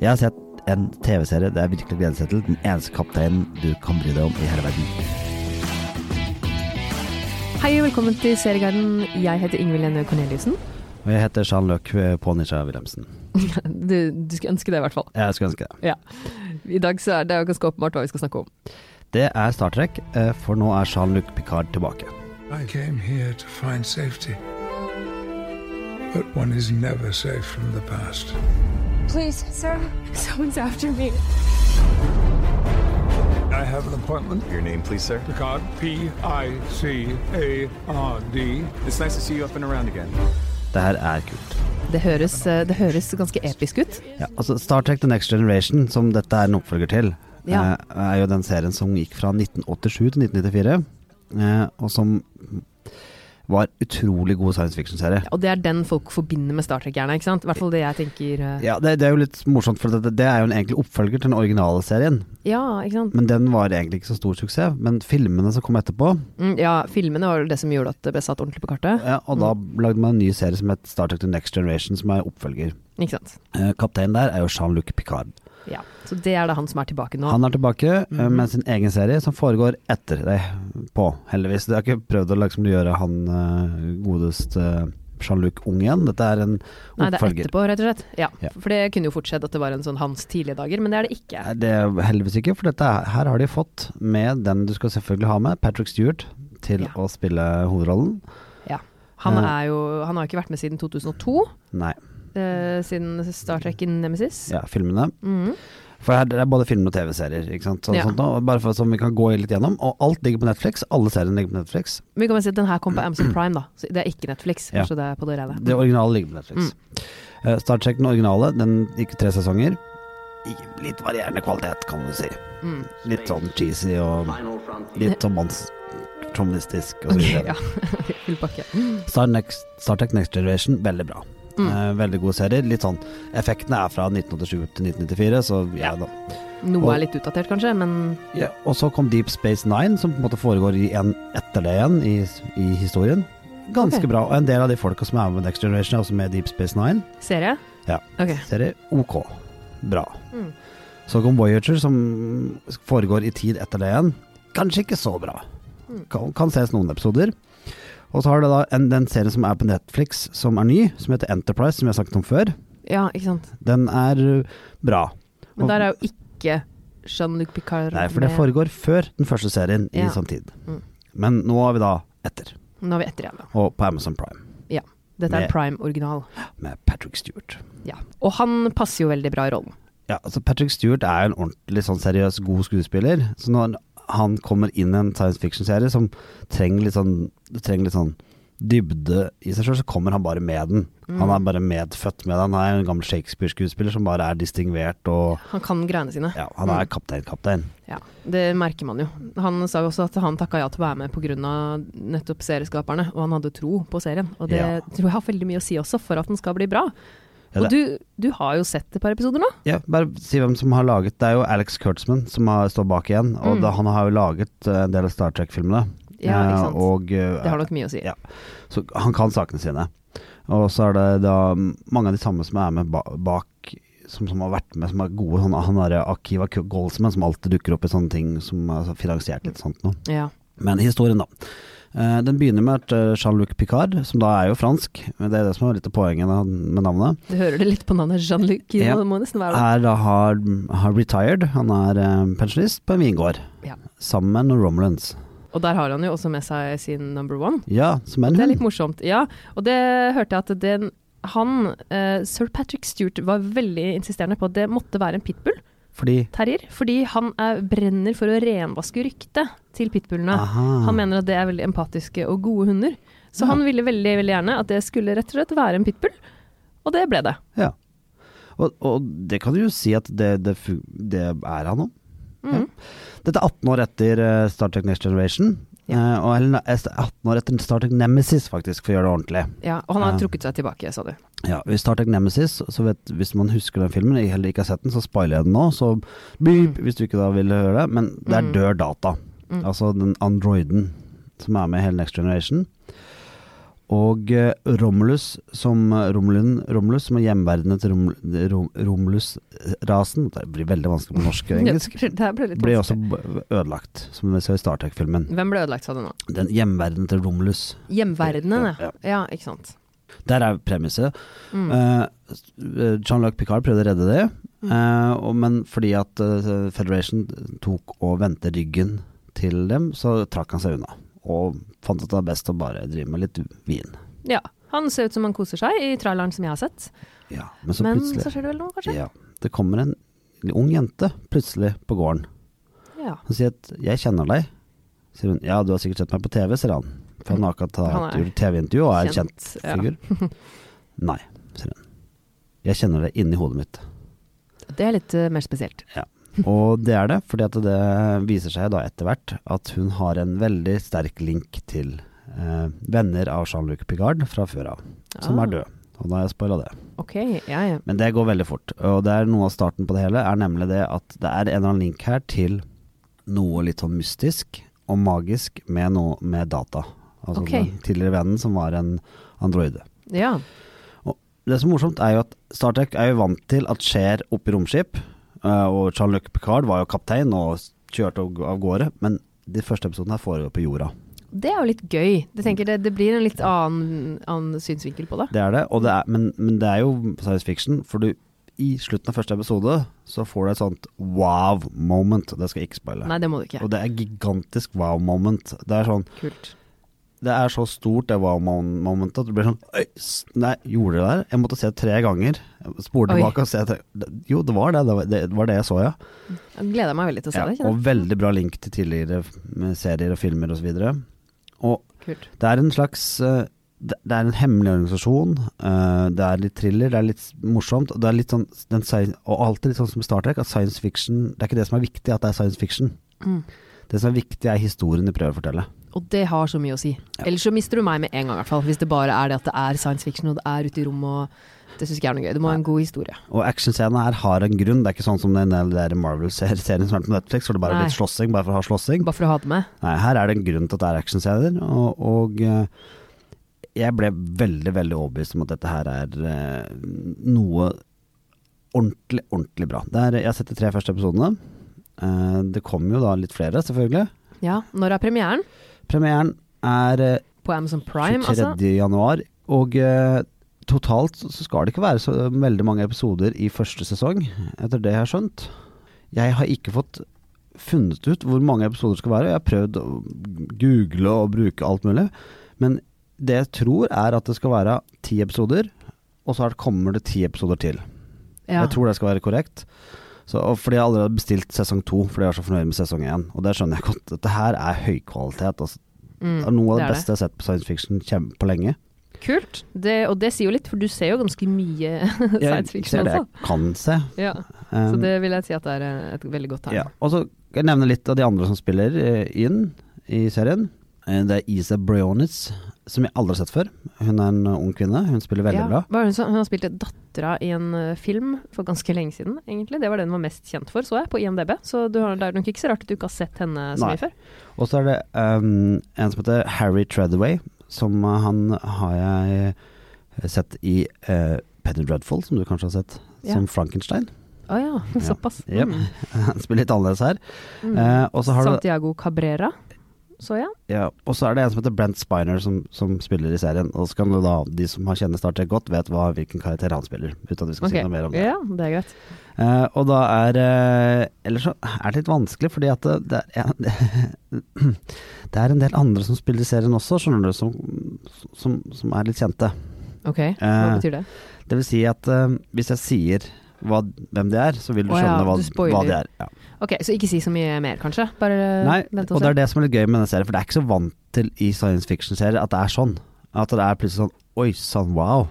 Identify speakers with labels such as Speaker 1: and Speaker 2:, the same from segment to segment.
Speaker 1: Jeg har sett en TV-serie det er virkelig å glede seg til. Den eneste kapteinen du kan bry deg om i hele verden.
Speaker 2: Hei og velkommen til Serieguiden. Jeg heter Ingvild Enø Corneliussen.
Speaker 1: Og jeg heter Jean-Luc Ponisha Wilhelmsen.
Speaker 2: Du, du skulle ønske det, i hvert fall.
Speaker 1: Jeg skulle ønske det.
Speaker 2: Ja. I dag så er det jo ganske åpenbart hva vi skal snakke om.
Speaker 1: Det er Star Trek, eh, for nå er Jean-Luc Picard tilbake.
Speaker 3: I came here to find safety. But one is never safe from the past.
Speaker 4: Please, sir, someone's after me.
Speaker 3: I have an appointment.
Speaker 5: Your name, please, sir.
Speaker 3: Picard, P I C A R D.
Speaker 5: It's nice to see you up and around again.
Speaker 1: Det her er kult.
Speaker 2: Det høres, eh, det høres ganske episk ut.
Speaker 1: Ja, altså Star Trek The Next Generation, som dette er en oppfølger til,
Speaker 2: Ja.
Speaker 1: eh, er jo den serien som gikk fra 1987 til 1994, eh, og som var utrolig god science fiction-serie.
Speaker 2: Og det er den folk forbinder med Star Trek, gjerne. ikke sant? I hvert fall det jeg tenker. eh,
Speaker 1: Ja, det, det er jo litt morsomt, for det, det er jo en egentlig oppfølger til den originale serien.
Speaker 2: Ja, ikke sant.
Speaker 1: Men den var egentlig ikke så stor suksess. Men filmene som kom etterpå
Speaker 2: Mm, Ja, filmene var jo det som gjorde at det ble satt ordentlig på kartet.
Speaker 1: eh, Og da lagde man en ny serie som het Star Trek The Next Generation, som er oppfølger.
Speaker 2: Ikke sant.
Speaker 1: Eh, Kapteinen der er jo Jean-Luc Picard.
Speaker 2: Ja. Så det er da han som er tilbake nå.
Speaker 1: Han er tilbake eh,
Speaker 2: Mhm.
Speaker 1: med sin egen serie som foregår etter deg på, heldigvis. De har ikke prøvd å liksom gjøre han eh, godeste Jean-Luc ung igjen. Dette er en
Speaker 2: Nei, det er
Speaker 1: oppfølger.
Speaker 2: etterpå, rett og slett. Ja,
Speaker 1: Ja.
Speaker 2: For det kunne jo fort skjedd at det var en sånn hans tidlige dager, men det er det ikke.
Speaker 1: Nei, Det er heldigvis ikke, for dette er- her har de fått med den du skal selvfølgelig ha med, Patrick Stewart, til
Speaker 2: Ja.
Speaker 1: å spille hovedrollen.
Speaker 2: Han,
Speaker 1: Eh.
Speaker 2: er jo, han har jo ikke vært med siden 2002,
Speaker 1: Nei,
Speaker 2: eh, siden Star Trek in Nemesis.
Speaker 1: ja, filmene.
Speaker 2: Mhm.
Speaker 1: For her, det er både film og TV-serier, ikke sant. Sånn,
Speaker 2: Ja.
Speaker 1: sånt nå, og bare for, som vi kan gå litt gjennom. Og alt ligger på Netflix. Alle seriene ligger på Netflix.
Speaker 2: Men vi kan bare si at den her kom på Amazon Prime, da. Så det er ikke Netflix.
Speaker 1: Ja.
Speaker 2: Kanskje det er på det rene.
Speaker 1: Det originale ligger på Netflix.
Speaker 2: Mm.
Speaker 1: Eh, Star Trek den originale, den gikk tre sesonger. I litt varierende kvalitet, kan du si.
Speaker 2: Mm.
Speaker 1: Litt sånn cheesy og litt sånn mannsjournalistisk og så videre.
Speaker 2: ja. Full pakke. Mm.
Speaker 1: Star, Next, Star Trek Next Generation, veldig bra. Eh, veldig god serie. Litt sånn Effektene er fra 1987 til 1994, så ja da.
Speaker 2: Noe
Speaker 1: Og-
Speaker 2: er litt utdatert, kanskje, men
Speaker 1: Ja, og så kom Deep Space Nine, som på en måte foregår i en, etter det igjen i, i historien. Ganske
Speaker 2: Ok.
Speaker 1: bra. Og en del av de folka som er med Next Generation, er også med i Deep Space Nine.
Speaker 2: serie?
Speaker 1: Ja.
Speaker 2: Ok.
Speaker 1: Serie OK. Bra.
Speaker 2: Mm.
Speaker 1: Så kom Voyager, som foregår i tid etter det igjen. Kanskje ikke så bra.
Speaker 2: Mm.
Speaker 1: Kan, kan ses noen episoder. Og så har du da en, den serien som er på Netflix, som er ny, som heter Enterprise, som jeg har snakket om før.
Speaker 2: Ja, ikke sant.
Speaker 1: Den er uh, bra.
Speaker 2: Men
Speaker 1: Og-
Speaker 2: der er jo ikke Jean-Luc Picard
Speaker 1: Nei, for det
Speaker 2: med.
Speaker 1: foregår før den første serien i
Speaker 2: Ja.
Speaker 1: sånn tid.
Speaker 2: Mm.
Speaker 1: Men nå er vi da etter,
Speaker 2: Nå er vi etter igjen, da.
Speaker 1: og på Amazon Prime,
Speaker 2: Ja. Dette er
Speaker 1: Med-
Speaker 2: en Prime original.
Speaker 1: med Patrick Stewart.
Speaker 2: Ja. Og han passer jo veldig bra i rollen.
Speaker 1: Ja, altså Patrick Stewart er jo en ordentlig sånn seriøs god skuespiller. Så når han kommer inn i en science fiction-serie som trenger litt sånn, det trenger litt sånn dybde i seg sjøl, så kommer han bare med den. Han
Speaker 2: Mm.
Speaker 1: er bare medfødt med den. Han er jo en gammel Shakespeare-skuespiller som bare er distingvert og
Speaker 2: Han kan greiene sine.
Speaker 1: Ja, han er kaptein, kaptein.
Speaker 2: Ja, Det merker man jo. Han sa jo også at han takka ja til å være med pga. nettopp serieskaperne, og han hadde tro på serien. Og det
Speaker 1: Ja.
Speaker 2: tror jeg har veldig mye å si også for at den skal bli bra.
Speaker 1: Ja,
Speaker 2: og
Speaker 1: det-
Speaker 2: du, du har jo sett et par episoder nå?
Speaker 1: Ja, bare si hvem som har laget Det er jo Alex Kurtzman som har, står bak igjen. Og da, han har jo laget eh, en del av Star Trek-filmene.
Speaker 2: Mm. Ja, ikke
Speaker 1: Eh,
Speaker 2: sant.
Speaker 1: Og, eh,
Speaker 2: Det har nok mye å si.
Speaker 1: ja. Så han kan sakene sine. Og så er det da mange av de samme som er med ba bak som, som har vært med, som er gode. Han, han er Akiva Goldsman, som alltid dukker opp i sånne ting som har finansiert litt sånt noe.
Speaker 2: Ja.
Speaker 1: Men historien, da. Eh, Den begynner med at eh, Jean-Luc Picard, som da er jo fransk, men det er det som er litt av poenget da med navnet,
Speaker 2: Du hører det litt på navnet Jean-Luc.
Speaker 1: Ja. Ah.
Speaker 2: Det må nesten være det.
Speaker 1: er da har, har retired. Han er eh, pensjonist på en vingård.
Speaker 2: Ja.
Speaker 1: Sammen med noen Romulans.
Speaker 2: Og der har han jo også med seg sin number one.
Speaker 1: Ja, som er en
Speaker 2: Det er litt
Speaker 1: hund.
Speaker 2: morsomt. Ja, og det hørte jeg at den, han, eh, sir Patrick Stewart, var veldig insisterende på at det måtte være en pitbull.
Speaker 1: Fordi
Speaker 2: terrier, fordi han er, brenner for å renvaske ryktet til pitbullene.
Speaker 1: Aha.
Speaker 2: Han mener at det er veldig empatiske og gode hunder. Så han ville veldig, veldig gjerne at det skulle rett og slett være en pitbull, og det ble det.
Speaker 1: Ja. Og, og det kan du jo si at det, det, fu- det er han nå. Ja.
Speaker 2: Mm.
Speaker 1: Dette er 18 år etter eh, Star Trek Next Generation. eh, og eller, eh, 18 år etter Star Trek Nemesis, faktisk, for å gjøre det ordentlig.
Speaker 2: Ja, og han har trukket seg tilbake, sa du.
Speaker 1: Ja, I Star Trek Nemesis, så vet, hvis man husker den filmen, jeg heller ikke har sett den, så spoiler jeg den nå. Så beep, hvis du ikke da vil høre det. Men der dør data. Altså den androiden som er med i hele Next Generation. Og eh, Romulus, som eh, Romulun, Romulus, som er hjemvernet til Rom, Rom, Romulus-rasen Det blir veldig vanskelig på norsk og engelsk.
Speaker 2: Det her ble litt
Speaker 1: Ble også
Speaker 2: vanskelig.
Speaker 1: b- ødelagt, som vi ser i Star Trek-filmen.
Speaker 2: Hvem ble ødelagt, sa du nå?
Speaker 1: Den hjemverdenen til Romulus.
Speaker 2: Hjemverdenen,
Speaker 1: Ja.
Speaker 2: ja. ja. Ikke sant.
Speaker 1: Der er premisset.
Speaker 2: Mm.
Speaker 1: Eh. Jean-Luc Picard prøvde å redde det, eh, og, men fordi at eh, Federation tok og vendte ryggen til dem, så trakk han seg unna. Og fant at det var best å bare drive med litt vin.
Speaker 2: Ja. Han ser ut som han koser seg i traileren som jeg har sett,
Speaker 1: Ja, men så
Speaker 2: men
Speaker 1: plutselig
Speaker 2: så skjer det vel noe, kanskje?
Speaker 1: ja, Det kommer en ung jente plutselig på gården.
Speaker 2: Ja.
Speaker 1: Han sier at 'jeg kjenner deg'. Sier hun 'ja, du har sikkert sett meg på TV', sier han. For han har akkurat
Speaker 2: Han
Speaker 1: hatt
Speaker 2: er
Speaker 1: gjort TV-intervju og er en kjent
Speaker 2: Kjent, ja.
Speaker 1: figur. Nei, sier hun. 'Jeg kjenner deg inni hodet mitt'.
Speaker 2: Det er litt eh, mer spesielt.
Speaker 1: Og det er det, fordi at det viser seg da etter hvert at hun har en veldig sterk link til eh, venner av Jean-Luc Picard fra før av, som
Speaker 2: Ah,
Speaker 1: er død. Og da har jeg spoila det.
Speaker 2: Ok, ja, ja.
Speaker 1: Men det går veldig fort. Og det er noe av starten på det hele, er nemlig det at det er en eller annen link her til noe litt sånn mystisk og magisk med noe med data. Altså
Speaker 2: Ok.
Speaker 1: den tidligere vennen som var en androide.
Speaker 2: ja.
Speaker 1: Det som er morsomt er jo at Star Trek er jo vant til at skjer oppe i romskip, eh, og Jean-Luc Picard var jo kaptein og kjørte av- av gårde, men de første episodene her foregår på jorda.
Speaker 2: Det er jo litt gøy. Det, tenker, det, det blir en litt annen, annen synsvinkel på det.
Speaker 1: Det er det, og det er, men, men det er jo science fiction, for du, i slutten av første episode så får du et sånt wow-moment, det skal jeg ikke spoile.
Speaker 2: Nei, det må du ikke.
Speaker 1: Og det er gigantisk wow-moment. Det er sånn
Speaker 2: Kult.
Speaker 1: Det er så stort det wow-momentet at du blir sånn Oi, s- nei, gjorde det der? Jeg måtte se tre ganger. Jeg Spole
Speaker 2: Oi.
Speaker 1: tilbake og se tre. det- Jo, det var det. Det var det, det var det jeg så, ja.
Speaker 2: Jeg gleder meg veldig til å se
Speaker 1: ja.
Speaker 2: det.
Speaker 1: Og
Speaker 2: Kjenner. jeg.
Speaker 1: veldig bra link til tidligere mm, serier og filmer osv. Og
Speaker 2: Kult.
Speaker 1: det er en slags eh, Det det er en hemmelig organisasjon. eh, Det er litt thriller, det er litt morsomt. Og det er litt sånn den, sci- Og alltid litt sånn som i Star Trek, at science fiction Det er ikke det som er viktig, at det er science fiction.
Speaker 2: Mm.
Speaker 1: Det som er viktig, er historien de prøver å fortelle.
Speaker 2: Og det har så mye å si. Ellers så mister du meg med en gang, i hvert fall. Hvis det bare er det at det er science fiction, og det er ute i rommet, og det syns ikke jeg er noe gøy. Du må ha en god historie.
Speaker 1: Og actionscenen her har en grunn. Det er ikke sånn som den der Marvel-serien som er på Netflix, hvor det bare
Speaker 2: Nei.
Speaker 1: er litt slåssing bare for å ha slåssing.
Speaker 2: Bare for å ha det med.
Speaker 1: Nei, her er det en grunn til at det er actionscener, og, og eh, jeg ble veldig, veldig overbevist om at dette her er eh, noe ordentlig, ordentlig bra. Det er, jeg har sett de tre første episodene. Eh, det kommer jo da litt flere, selvfølgelig.
Speaker 2: Ja. Når er premieren?
Speaker 1: Premieren er eh,
Speaker 2: På Amazon Prime,
Speaker 1: 23.
Speaker 2: altså?
Speaker 1: januar, og eh, totalt så så skal det ikke være så veldig mange episoder i første sesong, etter det jeg har skjønt. Jeg har ikke fått funnet ut hvor mange episoder det skal være, og jeg har prøvd å google og bruke alt mulig, men det jeg tror er at det skal være ti episoder, og så er det- kommer det ti episoder til.
Speaker 2: Ja.
Speaker 1: Jeg tror det skal være korrekt. Så, og fordi jeg allerede har bestilt sesong to, fordi jeg er så fornøyd med sesong én. Og det skjønner jeg godt. Dette her er høykvalitet. Altså.
Speaker 2: Mm,
Speaker 1: Det er noe av det,
Speaker 2: det er det.
Speaker 1: beste jeg har sett på science fiction kjem- på lenge.
Speaker 2: Kult. Det, og det sier jo litt, for du ser jo ganske mye
Speaker 1: Jeg
Speaker 2: science
Speaker 1: ser
Speaker 2: fiction
Speaker 1: det
Speaker 2: også.
Speaker 1: jeg kan se.
Speaker 2: Ja.
Speaker 1: Um,
Speaker 2: Så det vil jeg si at det er eh, et veldig godt tegn.
Speaker 1: ja. Og så kan jeg nevne litt av de andre som spiller eh, inn i serien. Eh, Det er Isa Briones, som jeg aldri har sett før. Hun er en eh, ung kvinne, hun spiller veldig
Speaker 2: Ja,
Speaker 1: bra.
Speaker 2: hva er det hun sa? hun har spilt dattera i en eh, film for ganske lenge siden, egentlig. Det var det hun var mest kjent for, så jeg, på IMDb. Så du har, det er nok ikke så rart at du ikke har sett henne så
Speaker 1: Nei.
Speaker 2: mye før.
Speaker 1: Og så er det um, en som heter Harry Treadaway, som uh, han har jeg uh, sett i uh, Penny Dreadful, som du kanskje har sett,
Speaker 2: Ja.
Speaker 1: som Frankenstein.
Speaker 2: Å ja, såpass.
Speaker 1: Jep.
Speaker 2: Mm.
Speaker 1: Han spiller litt annerledes her.
Speaker 2: Mm.
Speaker 1: Eh, og så har du-
Speaker 2: Santiago Cabrera, så jeg.
Speaker 1: Ja, og så er det en som heter Brent Spiner som, som spiller i serien. Og så kan du da, de som har kjenner Star Trek godt, vet hva, hvilken karakter han spiller. Uten at vi skal
Speaker 2: Ok.
Speaker 1: si noe mer om det.
Speaker 2: Ja, det er greit.
Speaker 1: Eh, og da er eh, Ellers så er det litt vanskelig, fordi at det, det, er, en- det er en del andre som spiller i serien også, skjønner du, som, som, som er litt kjente.
Speaker 2: Ok, hva
Speaker 1: Eh,
Speaker 2: betyr det?
Speaker 1: Det vil si at eh, hvis jeg sier hva, hvem de er, så vil du
Speaker 2: Å ja,
Speaker 1: skjønne hva,
Speaker 2: du spoiler.
Speaker 1: hva de er. Ja.
Speaker 2: Ok, så ikke si så mye mer, kanskje? Bare eh,
Speaker 1: Nei,
Speaker 2: vent
Speaker 1: og det er det som er litt gøy med den serien, for det er ikke så vant til i science fiction-serier at det er sånn. At det er plutselig sånn Oi sann, wow.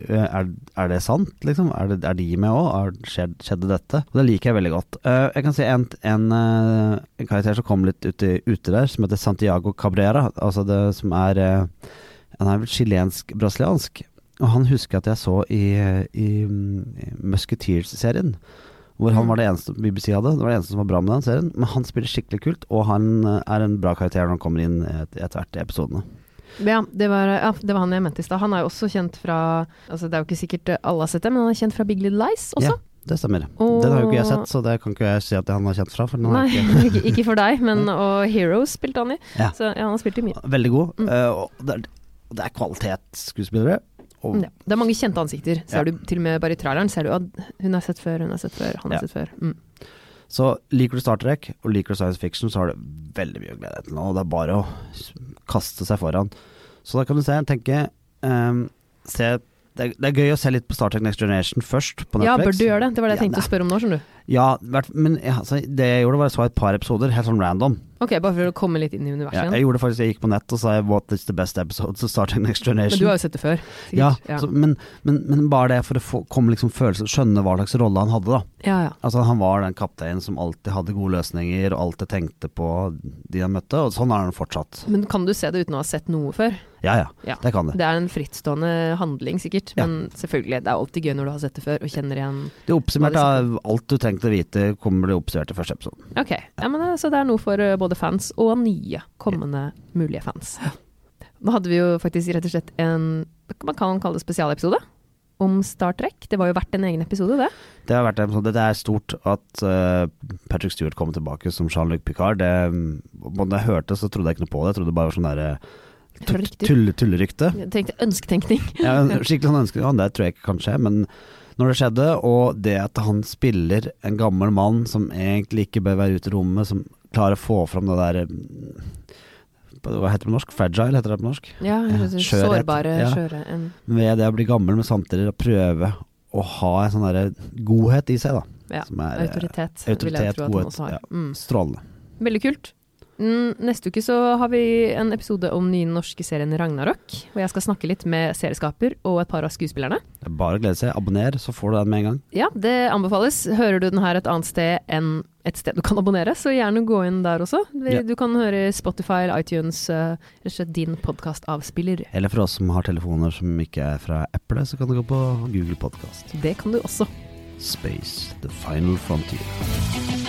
Speaker 1: Eh, Er, er det sant, liksom? Er, det, er de med òg? Skjedde, skjedde dette? Og det liker jeg veldig godt. Eh, jeg kan si en, en, eh, en karakter som kom litt ute, ute der, som heter Santiago Cabrera. Altså det som er eh, Han er vel chilensk-brasiliansk. Og han husker jeg at jeg så i, eh, i, mm, i Musketeers-serien. Hvor han
Speaker 2: Mm.
Speaker 1: var det eneste BBC hadde. Det var det eneste som var bra med den serien. Men han spiller skikkelig kult, og han eh, er en bra karakter når han kommer inn et- etter hvert i episodene.
Speaker 2: Ja det, var, ja, det var han jeg mente i stad. Han er jo også kjent fra altså Det er jo ikke sikkert alle har sett det, men han er kjent fra Big Little Lies også.
Speaker 1: Det stemmer.
Speaker 2: Og-
Speaker 1: Den har jo ikke jeg sett, så det kan ikke jeg si at han har kjent fra. For den har
Speaker 2: Nei,
Speaker 1: jeg ikke...
Speaker 2: ikke, ikke for deg, men og Heroes spilte han i.
Speaker 1: Ja.
Speaker 2: Så ja, han har spilt i mye.
Speaker 1: Veldig god.
Speaker 2: Mm.
Speaker 1: eh, og det er, og det er kvalitetsskuespillere. Og
Speaker 2: Ja. Det er mange kjente ansikter. Ser du til og med bare i traileren, ser du at hun har sett før, hun har sett før, han har
Speaker 1: Ja.
Speaker 2: sett før. Mm.
Speaker 1: Så liker du Star Trek og liker du science fiction, så har du veldig mye å glede deg til nå. Og det er bare å s- kaste seg foran. Så da kan du se, tenke ehm, se, det, er, det er gøy å se litt på Star Trek Next Generation først, på
Speaker 2: Ja, bør
Speaker 1: Netflix.
Speaker 2: du gjøre det? Det var det
Speaker 1: Ja,
Speaker 2: jeg tenkte å spørre om nå, skjønner du.
Speaker 1: Ja, hvert- men jeg- altså, det jeg gjorde, var jeg så et par episoder, helt sånn random.
Speaker 2: Ok, bare for å komme litt inn i
Speaker 1: Ja,
Speaker 2: universet igjen.
Speaker 1: jeg gjorde faktisk, jeg gikk på nett og sa 'What is the best episode of Star Trek Next Generation'?
Speaker 2: Men du har jo sett det før,
Speaker 1: ja,
Speaker 2: sikkert. Ja,
Speaker 1: Så, men, men, men bare det for å få, komme liksom følelsen, skjønne hva slags rolle han hadde, da.
Speaker 2: ja. ja.
Speaker 1: Altså Han var den kapteinen som alltid hadde gode løsninger, og alltid tenkte på de han møtte, og sånn er han fortsatt.
Speaker 2: Men kan du se det uten å ha sett noe før?
Speaker 1: Ja ja,
Speaker 2: Ja.
Speaker 1: det kan det.
Speaker 2: Det er en frittstående handling, sikkert.
Speaker 1: Ja.
Speaker 2: Men selvfølgelig, det er alltid gøy når du har sett det før og kjenner igjen
Speaker 1: Det oppsummerte av alt du trengte å vite, kommer det oppsummert i første episode.
Speaker 2: Ok, ja, men, eh, Så det er noe for eh, både fans og nye, kommende mulige fans. Nå hadde vi jo faktisk rett og slett en man kan kalle det spesialepisode om Star Trek. Det var jo verdt en egen episode, det.
Speaker 1: Det har vært en sånn, det er stort at eh, Patrick Stewart kommer tilbake som Jean-Luc Picard. Det, mm, da jeg hørte så trodde jeg ikke noe på det, jeg trodde det bare var sånn derre
Speaker 2: Riktig.
Speaker 1: tull, tullerykte.
Speaker 2: Jeg tenkte ønsketenkning.
Speaker 1: Ja, skikkelig sånn ønske, ja, det tror jeg ikke kan skje, men når det skjedde, og det at han spiller en gammel mann som egentlig ikke bør være ute i rommet, som klarer å få fram det der eh, Hva heter det på norsk? Fragile heter det på norsk.
Speaker 2: Ja,
Speaker 1: Ja, skjørhet.
Speaker 2: Sårbare,
Speaker 1: Ja.
Speaker 2: skjøre en
Speaker 1: Ved det å bli gammel, men samtidig å prøve å ha en sånn derre godhet i seg, da.
Speaker 2: ja,
Speaker 1: Som er eh,
Speaker 2: autoritet, vil jeg
Speaker 1: autoritet,
Speaker 2: tro at han
Speaker 1: godhet,
Speaker 2: også har.
Speaker 1: ja.
Speaker 2: Mm.
Speaker 1: strålende.
Speaker 2: Veldig kult. Mm, Neste uke så har vi en episode om den nye norske serien Ragnarok. Hvor jeg skal snakke litt med serieskaper og et par av skuespillerne.
Speaker 1: Det er Bare å glede seg. Abonner, så får du den med en gang.
Speaker 2: Ja, det anbefales. Hører du den her et annet sted enn et sted du kan abonnere, så gjerne gå inn der også. Vi-
Speaker 1: Ja.
Speaker 2: Du kan høre Spotify, iTunes, eh, rett og slett din podkastavspiller.
Speaker 1: Eller for oss som har telefoner som ikke er fra Apple, så kan du gå på Google Podkast.
Speaker 2: Det kan du også.
Speaker 1: Space, the final frontier.